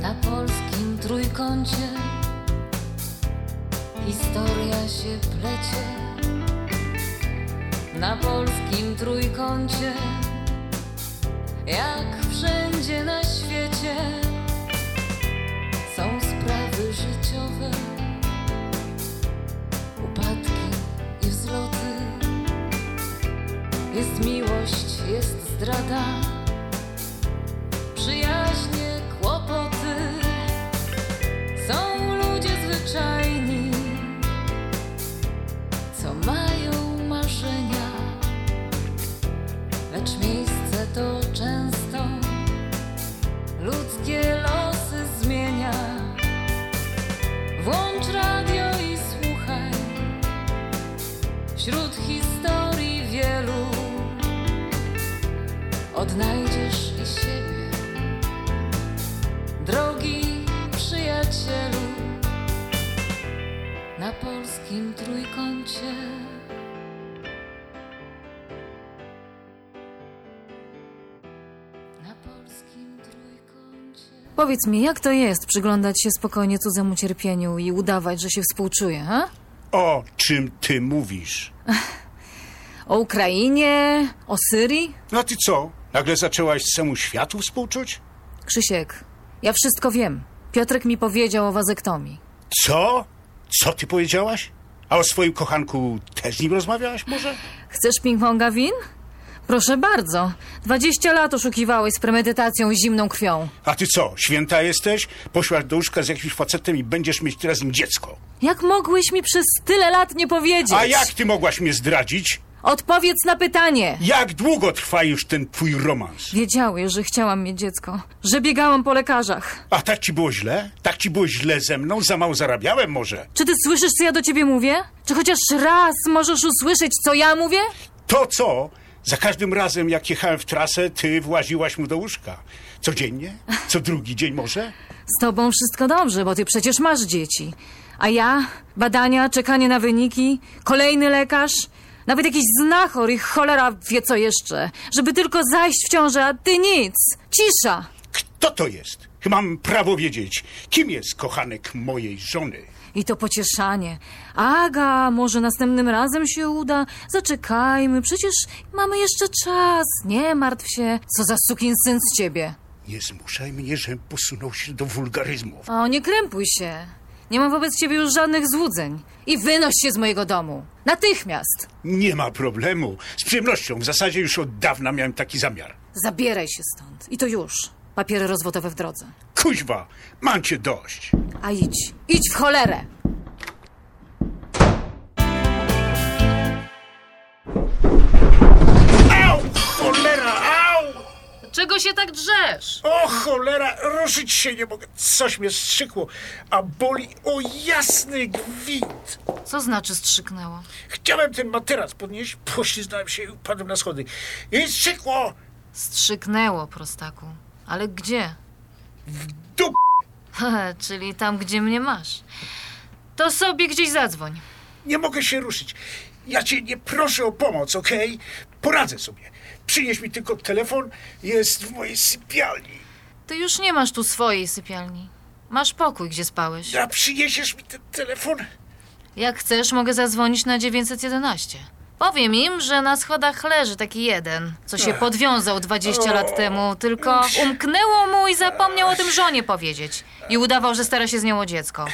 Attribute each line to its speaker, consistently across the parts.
Speaker 1: na polskim trójkącie historia się plecie. Na polskim trójkącie, jak wszędzie na świecie, są sprawy życiowe, upadki i wzloty. Jest miłość, jest zdrada przyjaźnie, kłopoty. Są ludzie zwyczajni, co mają marzenia, lecz miejsce to często ludzkie losy zmienia. Włącz radio i słuchaj wśród historii wielu. Odnajdziesz i siebie. Drogi przyjacielu, na polskim trójkącie. Na polskim trójkącie.
Speaker 2: Powiedz mi, jak to jest przyglądać się spokojnie cudzemu cierpieniu i udawać, że się współczuje, ha?
Speaker 3: O czym ty mówisz?
Speaker 2: O Ukrainie, o Syrii?
Speaker 3: No a ty co? Nagle zaczęłaś samu światu współczuć?
Speaker 2: Krzysiek, ja wszystko wiem. Piotrek mi powiedział o wazektomii.
Speaker 3: Co? Co ty powiedziałaś? A o swoim kochanku też z nim rozmawiałaś może?
Speaker 2: Chcesz ping-ponga win? Proszę bardzo. 20 lat oszukiwałeś z premedytacją i zimną krwią.
Speaker 3: A ty co? Święta jesteś? Poszłaś do łóżka z jakimś facetem i będziesz mieć teraz z nim dziecko.
Speaker 2: Jak mogłeś mi przez tyle lat nie powiedzieć?
Speaker 3: A jak ty mogłaś mnie zdradzić?
Speaker 2: Odpowiedz na pytanie!
Speaker 3: Jak długo trwa już ten twój romans?
Speaker 2: Wiedziały, że chciałam mieć dziecko, że biegałam po lekarzach.
Speaker 3: A tak ci było źle? Tak ci było źle ze mną? Za mało zarabiałem może?
Speaker 2: Czy ty słyszysz, co ja do ciebie mówię? Czy chociaż raz możesz usłyszeć, co ja mówię?
Speaker 3: To co? Za każdym razem, jak jechałem w trasę, ty właziłaś mu do łóżka. Codziennie? Co drugi dzień może?
Speaker 2: Z tobą wszystko dobrze, bo ty przecież masz dzieci. A ja? Badania, czekanie na wyniki, kolejny lekarz, nawet jakiś znachor i cholera wie co jeszcze, żeby tylko zajść w ciążę, a ty nic. Cisza!
Speaker 3: Kto to jest? Mam prawo wiedzieć, kim jest kochanek mojej żony.
Speaker 2: I to pocieszanie. Aga, może następnym razem się uda? Zaczekajmy, przecież mamy jeszcze czas. Nie martw się. Co za syn z ciebie.
Speaker 3: Nie zmuszaj mnie, żebym posunął się do wulgaryzmów.
Speaker 2: O, nie krępuj się. Nie mam wobec ciebie już żadnych złudzeń. I wynoś się z mojego domu. Natychmiast.
Speaker 3: Nie ma problemu. Z przyjemnością. W zasadzie już od dawna miałem taki zamiar.
Speaker 2: Zabieraj się stąd. I to już. Papiery rozwodowe w drodze.
Speaker 3: Kuźwa, mam cię dość.
Speaker 2: A idź. Idź w cholerę.
Speaker 3: Au! Cholera! Au!
Speaker 1: Czego się tak drzesz?
Speaker 3: O cholera! Ruszyć się nie mogę. Coś mnie strzykło. A boli o jasny gwint.
Speaker 2: Co znaczy strzyknęło?
Speaker 3: Chciałem ten materac podnieść, poślizgnąłem się i upadłem na schody. I strzykło!
Speaker 2: Strzyknęło, prostaku. Ale gdzie?
Speaker 3: Dup!
Speaker 2: Czyli tam, gdzie mnie masz. To sobie gdzieś zadzwoń.
Speaker 3: Nie mogę się ruszyć. Ja cię nie proszę o pomoc, okej? Poradzę sobie. Przynieś mi tylko telefon, jest w mojej sypialni.
Speaker 2: Ty już nie masz tu swojej sypialni. Masz pokój, gdzie spałeś.
Speaker 3: A przyniesiesz mi ten telefon?
Speaker 2: Jak chcesz, mogę zadzwonić na 911. Powiem im, że na schodach leży taki jeden, co się podwiązał 20 lat temu, tylko umknęło mu i zapomniał o tym żonie powiedzieć. I udawał, że stara się z nią o dziecko.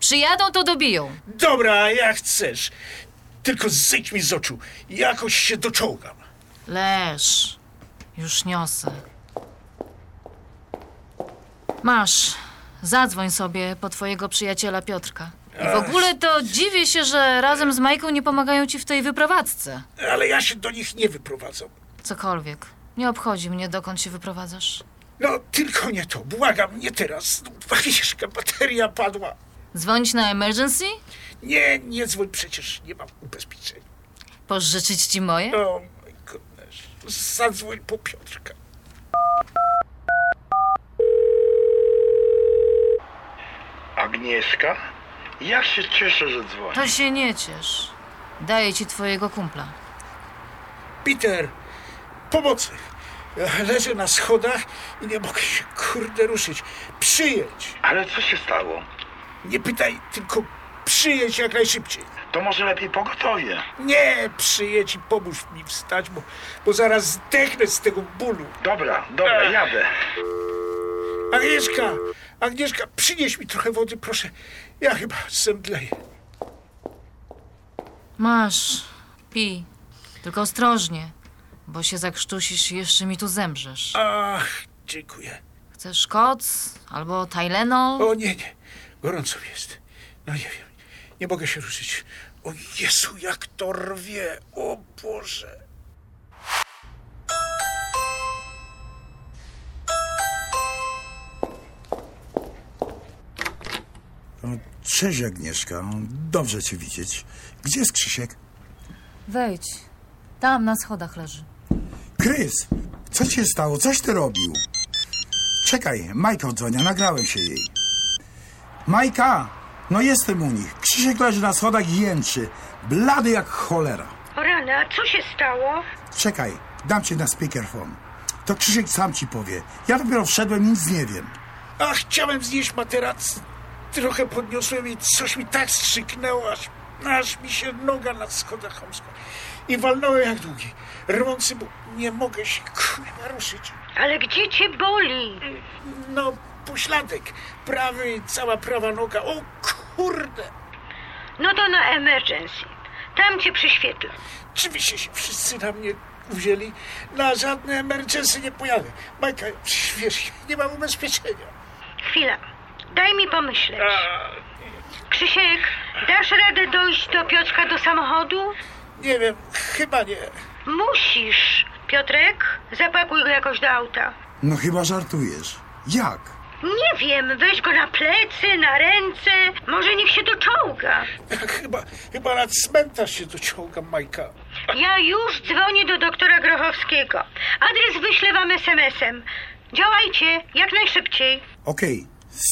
Speaker 2: Przyjadą, to dobiją.
Speaker 3: Dobra, jak chcesz. Tylko zejdź mi z oczu. Jakoś się doczołgam.
Speaker 2: Leż. Już niosę. Masz. Zadzwoń sobie po twojego przyjaciela Piotrka. I w ogóle to dziwię się, że razem z Majką nie pomagają ci w tej wyprowadzce.
Speaker 3: Ale ja się do nich nie wyprowadzam.
Speaker 2: Cokolwiek. Nie obchodzi mnie, dokąd się wyprowadzasz.
Speaker 3: No, tylko nie to. Błagam, nie teraz. No, Agnieszka, bateria padła.
Speaker 2: Dzwonić na emergency?
Speaker 3: Nie, nie dzwoń, przecież nie mam ubezpieczenia.
Speaker 2: Pożyczyć ci moje?
Speaker 3: O, mój goodness. Zadzwoń po Piotrka.
Speaker 4: Agnieszka? Ja się cieszę, że dzwoni.
Speaker 2: To się nie ciesz. Daję ci twojego kumpla.
Speaker 3: Peter, pomocy. Leżę na schodach i nie mogę się kurde ruszyć. Przyjedź!
Speaker 4: Ale co się stało?
Speaker 3: Nie pytaj, tylko przyjedź jak najszybciej.
Speaker 4: To może lepiej pogotowie.
Speaker 3: Nie, przyjedź i pomóż mi wstać, bo, bo zaraz zdechnę z tego bólu.
Speaker 4: Dobra, dobra, jadę.
Speaker 3: Agnieszka, Agnieszka, przynieś mi trochę wody, proszę. Ja chyba zemdleję.
Speaker 2: Masz, pij. Tylko ostrożnie, bo się zakrztusisz i jeszcze mi tu zemrzesz.
Speaker 3: Ach, dziękuję.
Speaker 2: Chcesz koc albo Tylenol?
Speaker 3: O nie, nie, gorąco mi jest. No nie wiem, nie mogę się ruszyć. O Jezu, jak to rwie, o Boże.
Speaker 5: O, Cześć Agnieszka, dobrze cię widzieć. Gdzie jest Krzysiek?
Speaker 2: Wejdź. Tam na schodach leży.
Speaker 5: Krys, co ci się stało? Coś ty robił. Czekaj, Majka odzwania, nagrałem się jej. Majka, no jestem u nich. Krzysiek leży na schodach i jęczy. Blady jak cholera.
Speaker 6: O rana, co się stało?
Speaker 5: Czekaj, dam cię na speakerphone. To Krzysiek sam ci powie. Ja dopiero wszedłem, nic nie wiem.
Speaker 3: Ach, chciałem znieść materac. Trochę podniosłem i coś mi tak strzyknęło, aż, aż mi się noga na schodach chomska. I walnąłem jak długi, rwący, bo nie mogę się kurwa ruszyć.
Speaker 6: Ale gdzie cię boli?
Speaker 3: No, pośladek, prawy i cała prawa noga. O kurde!
Speaker 6: No to na emergency. Tam cię przyświetlę.
Speaker 3: Czy wy się wszyscy na mnie uwzięli? Na żadne emergency nie pojadę. Majka, przecież wiesz, nie mam ubezpieczenia.
Speaker 6: Chwila. Daj mi pomyśleć. Krzysiek, dasz radę dojść do Piotrka do samochodu?
Speaker 3: Nie wiem, chyba nie.
Speaker 6: Musisz. Piotrek, zapakuj go jakoś do auta.
Speaker 5: No chyba żartujesz. Jak?
Speaker 6: Nie wiem, weź go na plecy, na ręce. Może niech się doczołga.
Speaker 3: Chyba, chyba na cmentarz się dociągam, Majka.
Speaker 6: Ja już dzwonię do doktora Grochowskiego. Adres wyślę wam SMS-em. Działajcie jak najszybciej.
Speaker 5: Okej,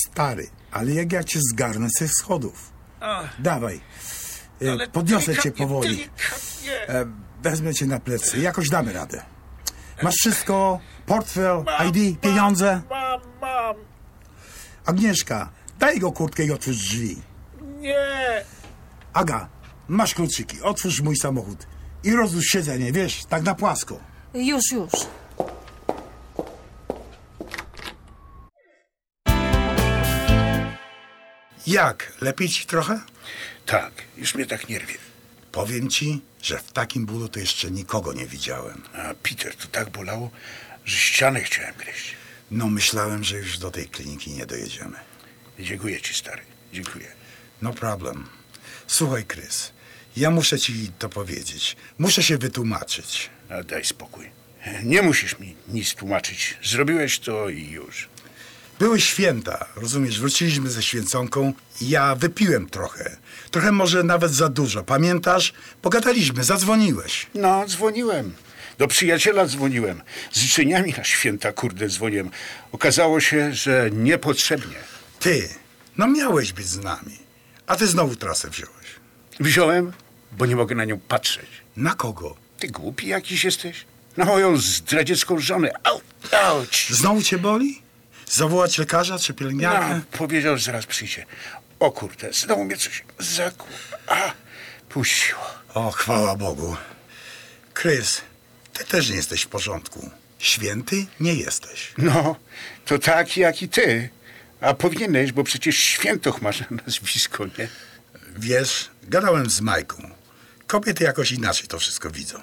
Speaker 5: stary, ale jak ja cię zgarnę ze schodów?
Speaker 3: Ach,
Speaker 5: Dawaj, e,
Speaker 3: ale
Speaker 5: podniosę cię
Speaker 3: delikatnie,
Speaker 5: powoli.
Speaker 3: Delikatnie.
Speaker 5: E, Wezmę cię na plecy, jakoś damy radę. Masz wszystko, portfel,
Speaker 3: Mam,
Speaker 5: ID, pieniądze.
Speaker 3: Mam, mam.
Speaker 5: Agnieszka, daj go kurtkę i otwórz drzwi.
Speaker 3: Nie.
Speaker 5: Aga, masz kluczyki, otwórz mój samochód. I rozłóż siedzenie, wiesz, tak na płasko.
Speaker 2: Już, już.
Speaker 5: Jak, lepiej ci trochę?
Speaker 3: Tak, już mnie tak nie rwie.
Speaker 5: Powiem ci, że w takim bólu to jeszcze nikogo nie widziałem.
Speaker 3: A Peter to tak bolało, że ścianę chciałem gryźć.
Speaker 5: No myślałem, że już do tej kliniki nie dojedziemy.
Speaker 3: Dziękuję ci, stary. Dziękuję.
Speaker 5: No problem. Słuchaj, Krys, ja muszę ci to powiedzieć. Muszę się wytłumaczyć.
Speaker 3: A daj spokój. Nie musisz mi nic tłumaczyć. Zrobiłeś to i już.
Speaker 5: Były święta, rozumiesz, wróciliśmy ze święconką i ja wypiłem trochę. Trochę może nawet za dużo, pamiętasz? Pogadaliśmy, zadzwoniłeś.
Speaker 3: No, dzwoniłem. Do przyjaciela dzwoniłem. Z życzeniami na święta, kurde, dzwoniłem. Okazało się, że niepotrzebnie.
Speaker 5: Ty, no miałeś być z nami, a ty znowu trasę wziąłeś.
Speaker 3: Wziąłem, bo nie mogę na nią patrzeć.
Speaker 5: Na kogo?
Speaker 3: Ty głupi jakiś jesteś? Na moją zdradziecką żonę. Au, auć.
Speaker 5: Znowu cię boli? Zawołać lekarza czy
Speaker 3: No,
Speaker 5: pielęgniarkę?
Speaker 3: powiedział, że zaraz przyjdzie. O kurde, znowu mnie coś zakło. A, puściło.
Speaker 5: O, chwała Bogu. Krys, ty też nie jesteś w porządku. Święty nie jesteś.
Speaker 3: No, to taki jak i ty. A powinieneś, bo przecież świętoch masz na nazwisko, nie?
Speaker 5: Wiesz, gadałem z Majką. Kobiety jakoś inaczej to wszystko widzą.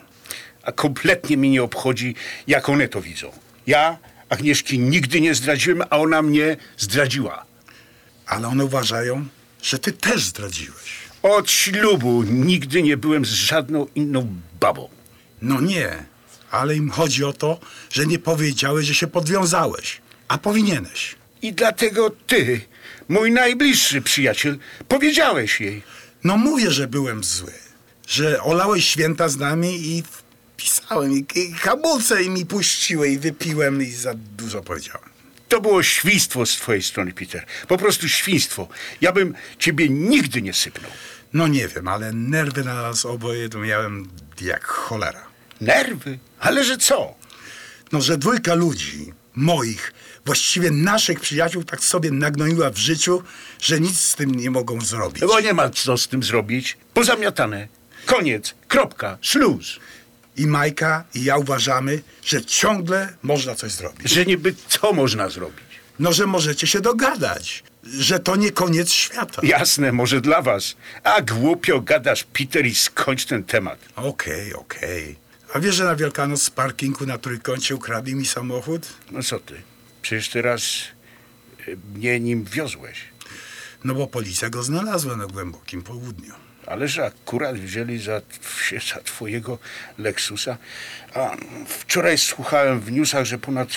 Speaker 3: A kompletnie mi nie obchodzi, jak one to widzą. Ja Agnieszki nigdy nie zdradziłem, a ona mnie zdradziła.
Speaker 5: Ale one uważają, że ty też zdradziłeś.
Speaker 3: Od ślubu nigdy nie byłem z żadną inną babą.
Speaker 5: No nie, ale im chodzi o to, że nie powiedziałeś, że się podwiązałeś, a powinieneś.
Speaker 3: I dlatego ty, mój najbliższy przyjaciel, powiedziałeś jej.
Speaker 5: No mówię, że byłem zły, że olałeś święta z nami i wpisałem i, i hamulce i mi puściły i wypiłem i za dużo powiedziałem.
Speaker 3: To było świństwo z twojej strony, Peter. Po prostu świństwo. Ja bym ciebie nigdy nie sypnął.
Speaker 5: No nie wiem, ale nerwy na nas oboje to miałem jak cholera.
Speaker 3: Nerwy? Ale że co?
Speaker 5: No, że dwójka ludzi, moich, właściwie naszych przyjaciół, tak sobie nagnoiła w życiu, że nic z tym nie mogą zrobić.
Speaker 3: Bo nie ma co z tym zrobić. Pozamiatane. Koniec. Kropka. Śluz.
Speaker 5: I Majka, i ja uważamy, że ciągle można coś zrobić.
Speaker 3: Że niby co można zrobić?
Speaker 5: No, że możecie się dogadać, że to nie koniec świata.
Speaker 3: Jasne, może dla was. A głupio gadasz, Peter, i skończ ten temat.
Speaker 5: Okej, okej. A wiesz, że na Wielkanoc z parkingu na Trójkącie ukradli mi samochód?
Speaker 3: No co ty? Przecież teraz y, mnie nim wiozłeś.
Speaker 5: No bo policja go znalazła na głębokim południu.
Speaker 3: Ależ akurat wzięli za, tw- za twojego Lexusa. A wczoraj słuchałem w newsach, że ponad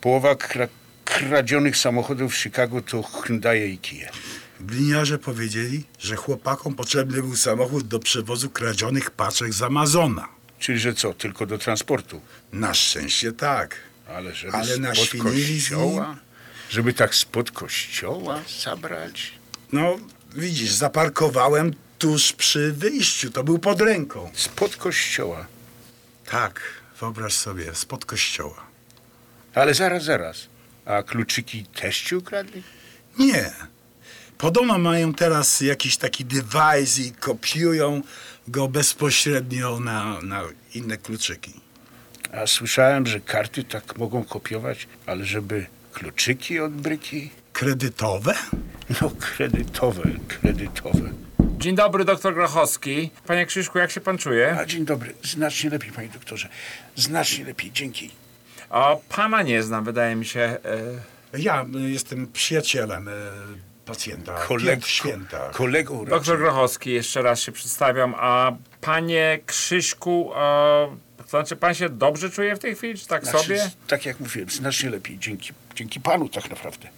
Speaker 3: połowa kra- kradzionych samochodów w Chicago to Hyundai i Kia.
Speaker 5: Gliniarze powiedzieli, że chłopakom potrzebny był samochód do przewozu kradzionych paczek z Amazona.
Speaker 3: Czyli że co, tylko do transportu.
Speaker 5: Na szczęście tak.
Speaker 3: Ale żeby
Speaker 5: Ale
Speaker 3: spod
Speaker 5: naświnili z nim.
Speaker 3: kościoła? Żeby tak spod kościoła zabrać?
Speaker 5: No, widzisz, zaparkowałem tuż przy wyjściu. To był pod ręką.
Speaker 3: Spod kościoła.
Speaker 5: Tak, wyobraź sobie, spod kościoła.
Speaker 3: Ale zaraz, zaraz. A kluczyki też ci ukradli?
Speaker 5: Nie. Podobno mają teraz jakiś taki device i kopiują go bezpośrednio na, na inne kluczyki.
Speaker 3: A słyszałem, że karty tak mogą kopiować, ale żeby kluczyki od bryki?
Speaker 5: Kredytowe?
Speaker 3: No kredytowe, kredytowe.
Speaker 7: Dzień dobry, doktor Grochowski. Panie Krzyszku, jak się pan czuje?
Speaker 3: A dzień dobry, znacznie lepiej, panie doktorze. Znacznie lepiej, dzięki.
Speaker 7: O, pana nie znam, wydaje mi się. E,
Speaker 5: Ja y, jestem przyjacielem y, pacjenta. Piotr Święta.
Speaker 3: Kolegą
Speaker 7: doktor
Speaker 3: raczej.
Speaker 7: Grochowski, jeszcze raz się przedstawiam. A panie Krzyszku, e, to znaczy pan się dobrze czuje w tej chwili, czy tak
Speaker 3: Znaczy,
Speaker 7: sobie?
Speaker 3: Tak jak mówiłem, znacznie lepiej, dzięki, dzięki panu tak naprawdę.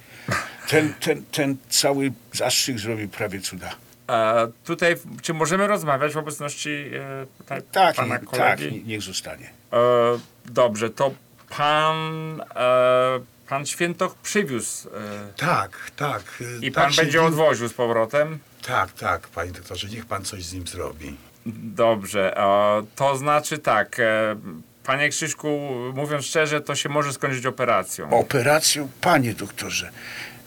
Speaker 3: Ten, ten, ten cały zastrzyk zrobił prawie cuda.
Speaker 7: E, tutaj, czy możemy rozmawiać w obecności e, tutaj
Speaker 3: Tak,
Speaker 7: pana
Speaker 3: i- tak,
Speaker 7: kolegi?
Speaker 3: niech zostanie.
Speaker 7: E, dobrze, to pan, e, pan Świętoch przywiózł e,
Speaker 5: Tak, tak. y,
Speaker 7: i
Speaker 5: tak
Speaker 7: pan
Speaker 5: się
Speaker 7: będzie
Speaker 5: nim-
Speaker 7: odwoził z powrotem.
Speaker 5: Tak, tak, panie doktorze, niech pan coś z nim zrobi.
Speaker 7: Dobrze, e, to znaczy tak. e, Panie Krzyszku, mówiąc szczerze, to się może skończyć operacją.
Speaker 3: Operacją, panie doktorze,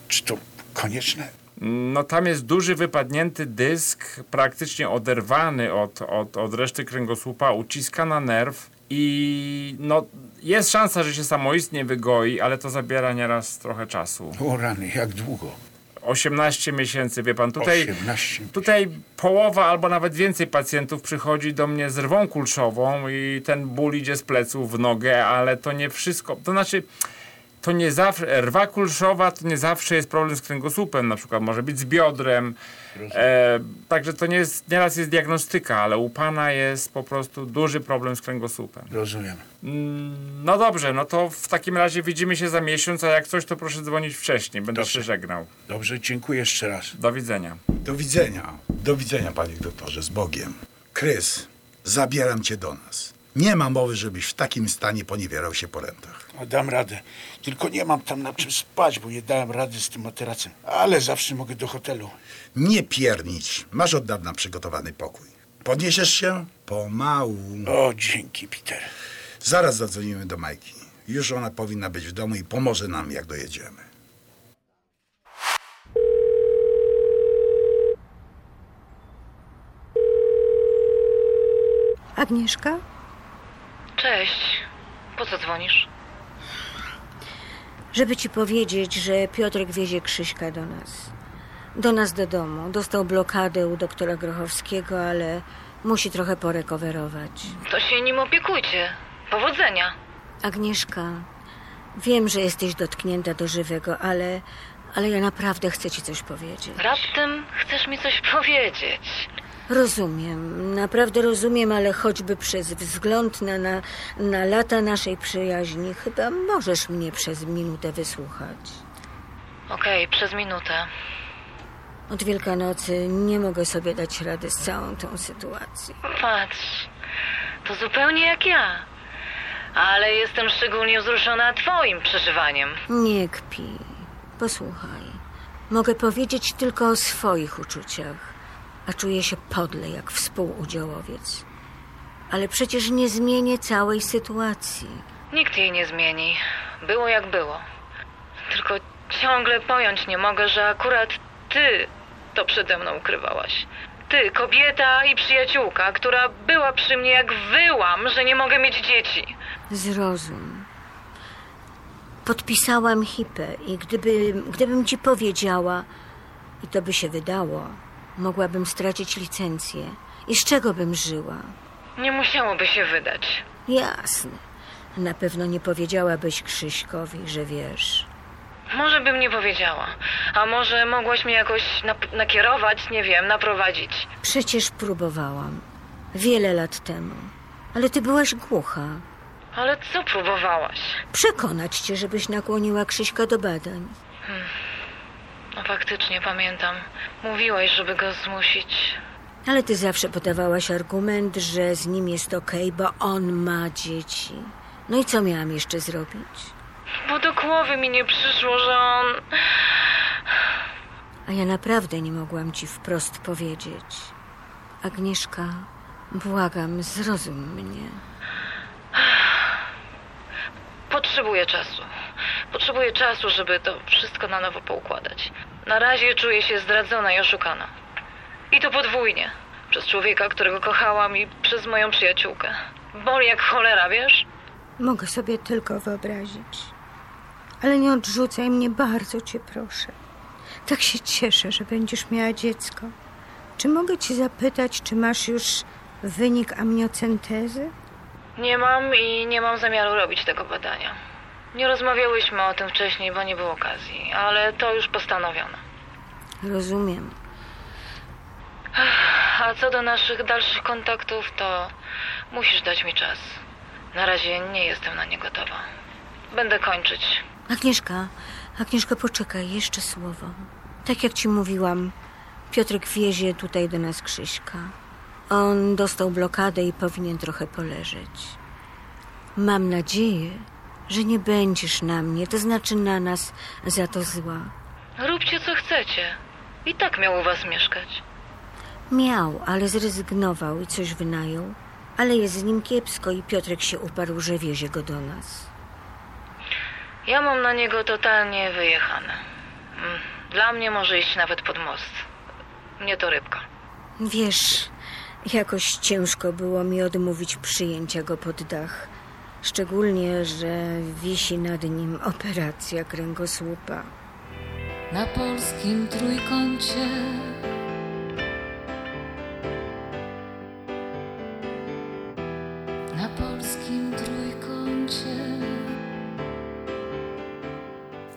Speaker 3: czy to konieczne?
Speaker 7: No tam jest duży wypadnięty dysk, praktycznie oderwany od, od, od reszty kręgosłupa, uciska na nerw i no, jest szansa, że się samoistnie wygoi, ale to zabiera nieraz trochę czasu.
Speaker 3: O rany, jak długo?
Speaker 7: 18 miesięcy, wie pan, tutaj...
Speaker 3: 18
Speaker 7: Tutaj połowa albo nawet więcej pacjentów przychodzi do mnie z rwą kulszową i ten ból idzie z pleców w nogę, ale to nie wszystko. To znaczy, to nie zawsze, rwa kulszowa to nie zawsze jest problem z kręgosłupem, na przykład może być z biodrem. E, także to nie jest, nieraz jest diagnostyka, ale u pana jest po prostu duży problem z kręgosłupem.
Speaker 3: Rozumiem.
Speaker 7: Mm, No dobrze, no to w takim razie widzimy się za miesiąc, a jak coś to proszę dzwonić wcześniej, będę
Speaker 3: Dobrze.
Speaker 7: się żegnał.
Speaker 3: Dobrze, dziękuję jeszcze raz.
Speaker 7: Do widzenia.
Speaker 5: Do widzenia. Do widzenia, panie doktorze, z Bogiem. Krys, zabieram cię do nas. Nie ma mowy, żebyś w takim stanie poniewierał się po rentach.
Speaker 3: O, dam radę. Tylko nie mam tam na czym spać, bo nie dałem rady z tym materacem. Ale zawsze mogę do hotelu.
Speaker 5: Nie piernicz. Masz od dawna przygotowany pokój. Podniesiesz się? Pomału.
Speaker 3: O, dzięki, Peter.
Speaker 5: Zaraz zadzwonimy do Majki. Już ona powinna być w domu i pomoże nam, jak dojedziemy.
Speaker 6: Agnieszka?
Speaker 1: Cześć. Po co dzwonisz?
Speaker 6: Żeby ci powiedzieć, że Piotrek wiezie Krzyśka do nas. Do nas do domu. Dostał blokadę u doktora Grochowskiego, ale musi trochę porekowerować.
Speaker 1: To się nim opiekujcie. Powodzenia.
Speaker 6: Agnieszka, wiem, że jesteś dotknięta do żywego, ale, ale ja naprawdę chcę ci coś powiedzieć.
Speaker 1: Raptem chcesz mi coś powiedzieć.
Speaker 6: Rozumiem, naprawdę rozumiem, ale choćby przez wzgląd na, na, na lata naszej przyjaźni, chyba możesz mnie przez minutę wysłuchać.
Speaker 1: Okej, przez minutę.
Speaker 6: Od Wielkanocy nie mogę sobie dać rady z całą tą sytuacją.
Speaker 1: Patrz, to zupełnie jak ja. Ale jestem szczególnie wzruszona twoim przeżywaniem.
Speaker 6: Nie kpi. Posłuchaj. Mogę powiedzieć tylko o swoich uczuciach, a czuję się podle jak współudziałowiec. Ale przecież nie zmienię całej sytuacji.
Speaker 8: Nikt jej nie zmieni. Było jak było. Tylko ciągle pojąć nie mogę, że akurat ty to przede mną ukrywałaś. Ty, kobieta i przyjaciółka, która była przy mnie jak wyłam, że nie mogę mieć dzieci.
Speaker 6: Zrozum. Podpisałam hipę i gdyby, gdybym ci powiedziała, i to by się wydało, mogłabym stracić licencję. I z czego bym żyła?
Speaker 8: Nie musiałoby się wydać.
Speaker 6: Jasne. Na pewno nie powiedziałabyś Krzyśkowi, że wiesz.
Speaker 8: Może bym nie powiedziała. A może mogłaś mnie jakoś nap- nakierować, nie wiem, naprowadzić.
Speaker 6: Przecież próbowałam. Wiele lat temu. Ale ty byłaś głucha.
Speaker 8: Ale co próbowałaś?
Speaker 6: Przekonać cię, żebyś nakłoniła Krzyśka do badań.
Speaker 8: No faktycznie pamiętam. Mówiłaś, żeby go zmusić.
Speaker 6: Ale ty zawsze podawałaś argument, że z nim jest okej, bo on ma dzieci. No i co miałam jeszcze zrobić?
Speaker 8: Bo do głowy mi nie przyszło, że on.
Speaker 6: A ja naprawdę nie mogłam ci wprost powiedzieć. Agnieszka, błagam, zrozum mnie.
Speaker 8: Potrzebuje czasu. Potrzebuje czasu, żeby to wszystko na nowo poukładać. Na razie czuję się zdradzona i oszukana. I to podwójnie. Przez człowieka, którego kochałam i przez moją przyjaciółkę. Boli jak cholera, wiesz?
Speaker 6: Mogę sobie tylko wyobrazić. Ale nie odrzucaj mnie, bardzo cię proszę. Tak się cieszę, że będziesz miała dziecko. Czy mogę cię zapytać, czy masz już wynik amniocentezy?
Speaker 8: Nie mam i nie mam zamiaru robić tego badania. Nie rozmawiałyśmy o tym wcześniej, bo nie było okazji, ale to już postanowione.
Speaker 6: Rozumiem.
Speaker 8: A co do naszych dalszych kontaktów, to musisz dać mi czas. Na razie nie jestem na nie gotowa. Będę kończyć.
Speaker 6: Agnieszka, Agnieszka, poczekaj, jeszcze słowo. Tak jak ci mówiłam, Piotrek wiezie tutaj do nas Krzyśka. On dostał blokadę i powinien trochę poleżeć. Mam nadzieję, że nie będziesz na mnie, to znaczy na nas, za to zła.
Speaker 8: Róbcie co chcecie. I tak miał u was mieszkać.
Speaker 6: Miał, ale zrezygnował i coś wynajął. Ale jest z nim kiepsko i Piotrek się uparł, że wiezie go do nas.
Speaker 8: Ja mam na niego totalnie wyjechane. Mm, Dla mnie może iść nawet pod most. Mnie to rybka.
Speaker 6: Wiesz, jakoś ciężko było mi odmówić przyjęcia go pod dach. Szczególnie, że wisi nad nim operacja kręgosłupa.
Speaker 1: Na polskim trójkącie Na polskim trójkącie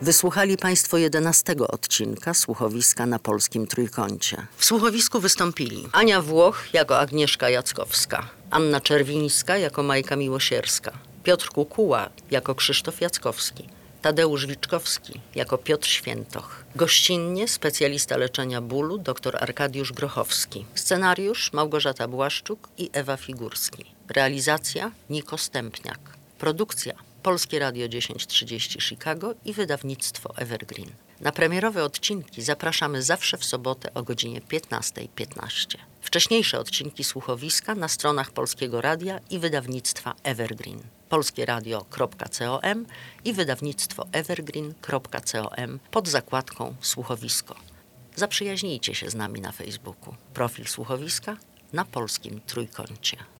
Speaker 9: Wysłuchali Państwo jedenastego odcinka słuchowiska na polskim trójkącie. W słuchowisku wystąpili Ania Włoch jako Agnieszka Jackowska, Anna Czerwińska jako Majka Miłosierska, Piotr Kukuła jako Krzysztof Jackowski, Tadeusz Wiczkowski jako Piotr Świętoch. Gościnnie specjalista leczenia bólu dr Arkadiusz Grochowski. Scenariusz Małgorzata Błaszczuk i Ewa Figurski. Realizacja Niko Stępniak. Produkcja Polskie Radio 1030 Chicago i wydawnictwo Evergreen. Na premierowe odcinki zapraszamy zawsze w sobotę o godzinie 15.15. Wcześniejsze odcinki słuchowiska na stronach Polskiego Radia i wydawnictwa Evergreen. polskieradio.com i wydawnictwo evergreen.com pod zakładką Słuchowisko. Zaprzyjaźnijcie się z nami na Facebooku. Profil Słuchowiska na polskim trójkącie.